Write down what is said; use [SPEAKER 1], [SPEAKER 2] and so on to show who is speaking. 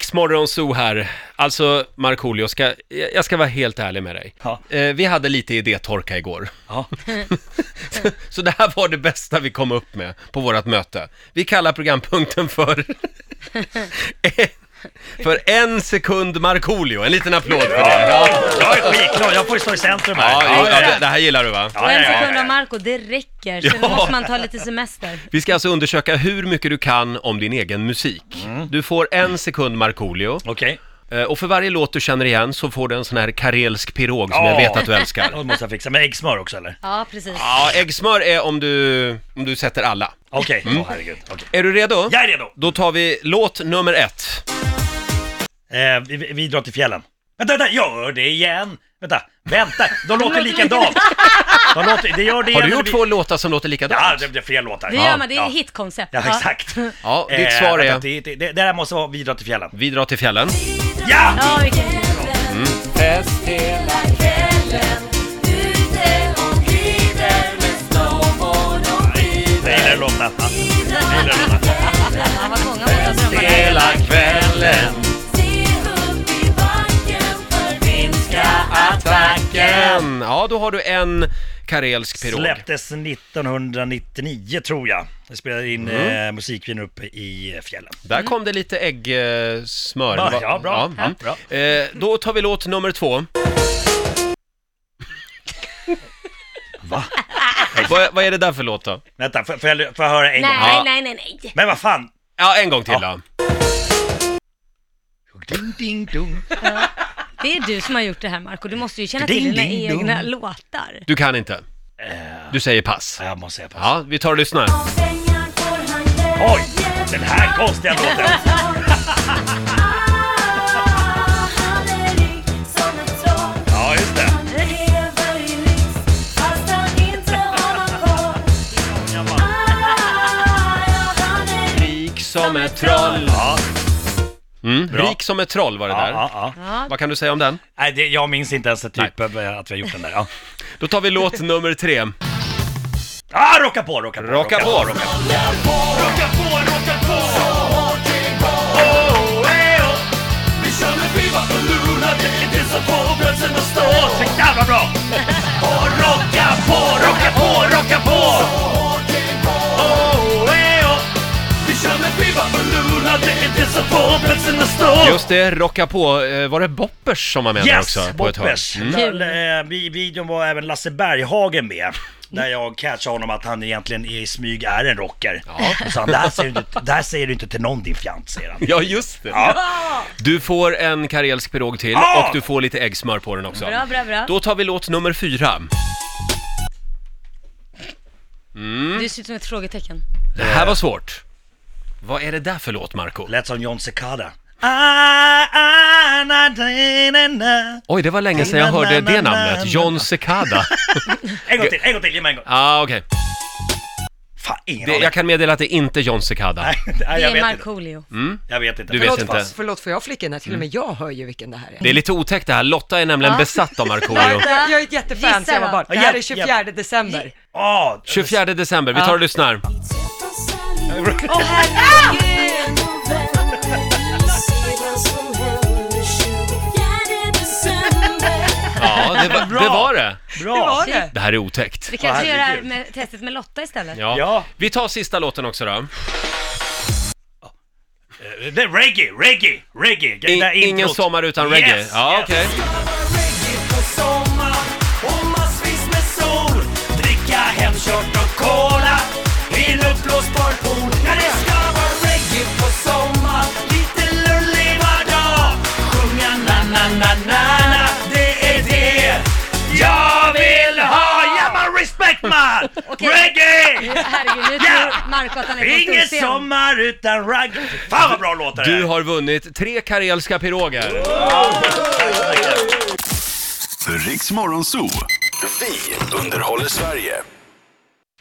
[SPEAKER 1] Riksmorgonzoo här. Alltså, Markoolio, ska, jag jag ska vara helt ärlig med dig.
[SPEAKER 2] Ja.
[SPEAKER 1] Eh, vi hade lite idétorka igår.
[SPEAKER 2] Ja.
[SPEAKER 1] Så det här var det bästa vi kom upp med på vårt möte. Vi kallar programpunkten för... för en sekund Markoolio. En liten applåd för det.
[SPEAKER 2] Jag är skitglad, jag får ju stå i centrum här.
[SPEAKER 1] Ja, ja, ja, det, det här gillar du va?
[SPEAKER 2] Ja,
[SPEAKER 3] Och
[SPEAKER 2] ja,
[SPEAKER 3] en
[SPEAKER 2] ja, ja.
[SPEAKER 3] sekund av Marco, det räcker. Sen
[SPEAKER 1] Ja.
[SPEAKER 3] måste man ta lite semester.
[SPEAKER 1] Vi ska alltså undersöka hur mycket du kan om din egen musik. Du får en sekund Markoolio.
[SPEAKER 2] Okej,
[SPEAKER 1] Eh, Och för varje låt du känner igen så får du en sån här karelsk pirog som jag
[SPEAKER 2] Ja.
[SPEAKER 1] vet att du älskar.
[SPEAKER 2] då måste jag fixa. Med äggsmör också eller?
[SPEAKER 3] Ja, precis.
[SPEAKER 1] Ja, äggsmör är om du, om du sätter alla.
[SPEAKER 2] Okej,
[SPEAKER 1] Mm.
[SPEAKER 2] Åh herregud. Okej.
[SPEAKER 1] Är du redo?
[SPEAKER 2] Jag är redo!
[SPEAKER 1] Då tar vi låt nummer ett.
[SPEAKER 2] Eh, vi, vi- vi drar till fjällen. Vänta, vänta, gör det igen! Vänta, vänta, de låter likadant! De låter, det gör det
[SPEAKER 1] Har du
[SPEAKER 2] igen,
[SPEAKER 1] gjort
[SPEAKER 2] vi-
[SPEAKER 1] två låtar som låter
[SPEAKER 2] Ja,
[SPEAKER 1] likadant?
[SPEAKER 2] det, det är fler låtar.
[SPEAKER 3] Det
[SPEAKER 2] ja.
[SPEAKER 3] gör man, det är
[SPEAKER 2] ja.
[SPEAKER 3] hitkoncept.
[SPEAKER 2] Ja, exakt.
[SPEAKER 1] Ja, ditt
[SPEAKER 2] Eh,
[SPEAKER 1] svar
[SPEAKER 2] vänta,
[SPEAKER 1] är
[SPEAKER 2] Det, det, det, det där måste vara Vi drar till fjällen.
[SPEAKER 1] Vi drar till fjällen.
[SPEAKER 2] Ja!
[SPEAKER 3] Ja, vilken...
[SPEAKER 4] Fest hela kvällen Ute och glider med snowboard och
[SPEAKER 2] Jag
[SPEAKER 4] skider
[SPEAKER 2] gillar den låten. Ja.
[SPEAKER 3] Ja, vad många måste ha drömmar.
[SPEAKER 1] Hela kvällen,
[SPEAKER 4] Se upp i backen för vinska
[SPEAKER 1] attacken. Ja, då har du en karelsk pirog.
[SPEAKER 2] Släpptes 1999 tror jag. Jag spelade in
[SPEAKER 1] Mm.
[SPEAKER 2] eh, musikvideon uppe i fjällen.
[SPEAKER 1] Där kom det lite äggsmör.
[SPEAKER 2] Mm. Ja, ja, bra. Ja,
[SPEAKER 1] mm.
[SPEAKER 2] bra.
[SPEAKER 1] Eh, Då tar vi låt nummer två.
[SPEAKER 2] Va?
[SPEAKER 1] Vad, vad är det där för låt då?
[SPEAKER 2] Vänta, får, får, jag, får jag höra en gång?
[SPEAKER 3] Nej, nej, nej, nej.
[SPEAKER 2] Men vad fan!
[SPEAKER 1] Ja, en gång till då.
[SPEAKER 2] Ding, ding, dong.
[SPEAKER 3] Det är du som har gjort det här, Marco. Du måste ju känna till
[SPEAKER 2] Ding,
[SPEAKER 3] dina
[SPEAKER 2] ding, dong.
[SPEAKER 3] egna låtar.
[SPEAKER 1] Du kan inte. Du säger pass.
[SPEAKER 2] Eh, Jag måste säga pass.
[SPEAKER 1] Ja, vi tar och lyssnar.
[SPEAKER 4] Av pengar får han glädje
[SPEAKER 2] Oj! Den här konstiga låten!
[SPEAKER 4] Ah, han är rik som ett troll
[SPEAKER 2] Ja, just det.
[SPEAKER 4] Han lever i lyx fast han inte har någon koll Ah, ja, han är rik
[SPEAKER 1] Rik som ett troll.
[SPEAKER 2] Ja,
[SPEAKER 1] Mm,
[SPEAKER 2] Bra.
[SPEAKER 1] rik som ett troll var det
[SPEAKER 2] ja,
[SPEAKER 1] där.
[SPEAKER 2] ja, ja.
[SPEAKER 3] Ja,
[SPEAKER 1] Vad kan du säga om den?
[SPEAKER 2] Nej, det, jag minns inte ens att typ eh, att vi har gjort den där. Ja,
[SPEAKER 1] Då tar vi låt nummer tre.
[SPEAKER 2] ah, rocka på, rocka på!
[SPEAKER 1] Rocka på!
[SPEAKER 2] Rocka Rocka på, rocka på! Oh, eh, oh.
[SPEAKER 5] Vi kör med skiva och luna, det är det som får brösten att stå
[SPEAKER 2] Åh, Så jävla bra!
[SPEAKER 5] Och rocka på, rocka på, rocka på! Oh, eh, oh. Vi kör med skiva och luna, det är det som får brösten att stå
[SPEAKER 1] Just det, rocka på. Eh, Var det Boppers som var med där
[SPEAKER 2] Yes!
[SPEAKER 1] också? på ett hörn?
[SPEAKER 2] Boppers!
[SPEAKER 1] Mm.
[SPEAKER 3] Kul.
[SPEAKER 2] Mm. I videon var även Lasse Berghagen med. Där jag catchade honom att han egentligen i smyg är en rocker. Och sa han, det här, säger du, inte- det här säger du inte till någon din fjant, säger han.
[SPEAKER 1] Ja, just det. Du får en karelsk pirog till
[SPEAKER 2] Ja!
[SPEAKER 1] och du får lite äggsmör på den också.
[SPEAKER 3] bra, bra, bra.
[SPEAKER 1] Då tar vi låt nummer fyra.
[SPEAKER 3] Du ser ut som ett frågetecken.
[SPEAKER 1] Det här var svårt. Vad är det där för låt, Marco?
[SPEAKER 2] Lät som John Cicada. Ah, ah, na, na, na, na.
[SPEAKER 1] Oj, det var länge sedan jag hörde det namnet. John Cicada.
[SPEAKER 2] En gång till, en gång till, ge mig en gång.
[SPEAKER 1] Ah, okej.
[SPEAKER 2] Fan, ingen
[SPEAKER 1] Det-
[SPEAKER 2] aning.
[SPEAKER 1] Jag kan meddela att det är inte John Cicada.
[SPEAKER 2] Nej, nej,
[SPEAKER 3] Det
[SPEAKER 2] jag
[SPEAKER 3] är
[SPEAKER 2] vet inte.
[SPEAKER 3] Markoolio.
[SPEAKER 2] Jag vet inte.
[SPEAKER 1] Du vet
[SPEAKER 2] Förlåt,
[SPEAKER 1] inte.
[SPEAKER 2] pass.
[SPEAKER 6] Förlåt, får jag flika in här? Till och med jag hör ju vilken det här är.
[SPEAKER 1] Det är lite otäckt det här. Lotta är nämligen
[SPEAKER 6] Ja.
[SPEAKER 1] besatt av Markoolio.
[SPEAKER 6] Jag är ett jättefan
[SPEAKER 3] Gissa
[SPEAKER 6] sen jag var
[SPEAKER 3] då.
[SPEAKER 6] barn. Det här
[SPEAKER 2] Ja,
[SPEAKER 6] är 24 december.
[SPEAKER 2] Ah,
[SPEAKER 1] 24 december, vi tar och lyssnar.
[SPEAKER 3] Åh herregud!
[SPEAKER 1] Ja, det var
[SPEAKER 2] Bra.
[SPEAKER 1] det. Var det.
[SPEAKER 6] Det
[SPEAKER 2] Bra!
[SPEAKER 6] var det.
[SPEAKER 1] det här är otäckt.
[SPEAKER 3] Vi kanske
[SPEAKER 2] Åh,
[SPEAKER 3] gör det här
[SPEAKER 2] herregud.
[SPEAKER 3] med testet med Lotta istället.
[SPEAKER 1] Ja.
[SPEAKER 2] Ja.
[SPEAKER 1] Vi tar sista låten också då.
[SPEAKER 2] Eh, Det är reggae, reggae, reggae! Det
[SPEAKER 1] I,
[SPEAKER 2] där introt.
[SPEAKER 1] ingen sommar utan reggae.
[SPEAKER 2] Yes,
[SPEAKER 1] ja,
[SPEAKER 2] yes.
[SPEAKER 1] okej.
[SPEAKER 5] reggae på sommar och massvis med sol Dricka hemkört och cola i en uppblåsbar pool Ja, det ska vara reggae på sommar lite lullig vardag Sjunga na-na-na-na-na, det är det jag vill ha! Ja, man respect man!
[SPEAKER 2] Reggae!
[SPEAKER 3] Herregud, nu
[SPEAKER 2] Ja!
[SPEAKER 3] tror Marco att han är på en stor
[SPEAKER 2] Ingen
[SPEAKER 3] scen.
[SPEAKER 2] sommar utan ragg. Fan vad bra låtar det
[SPEAKER 1] Du
[SPEAKER 2] är!
[SPEAKER 1] har vunnit tre karelska piroger.
[SPEAKER 7] Riks Morgonzoo. Vi underhåller Sverige.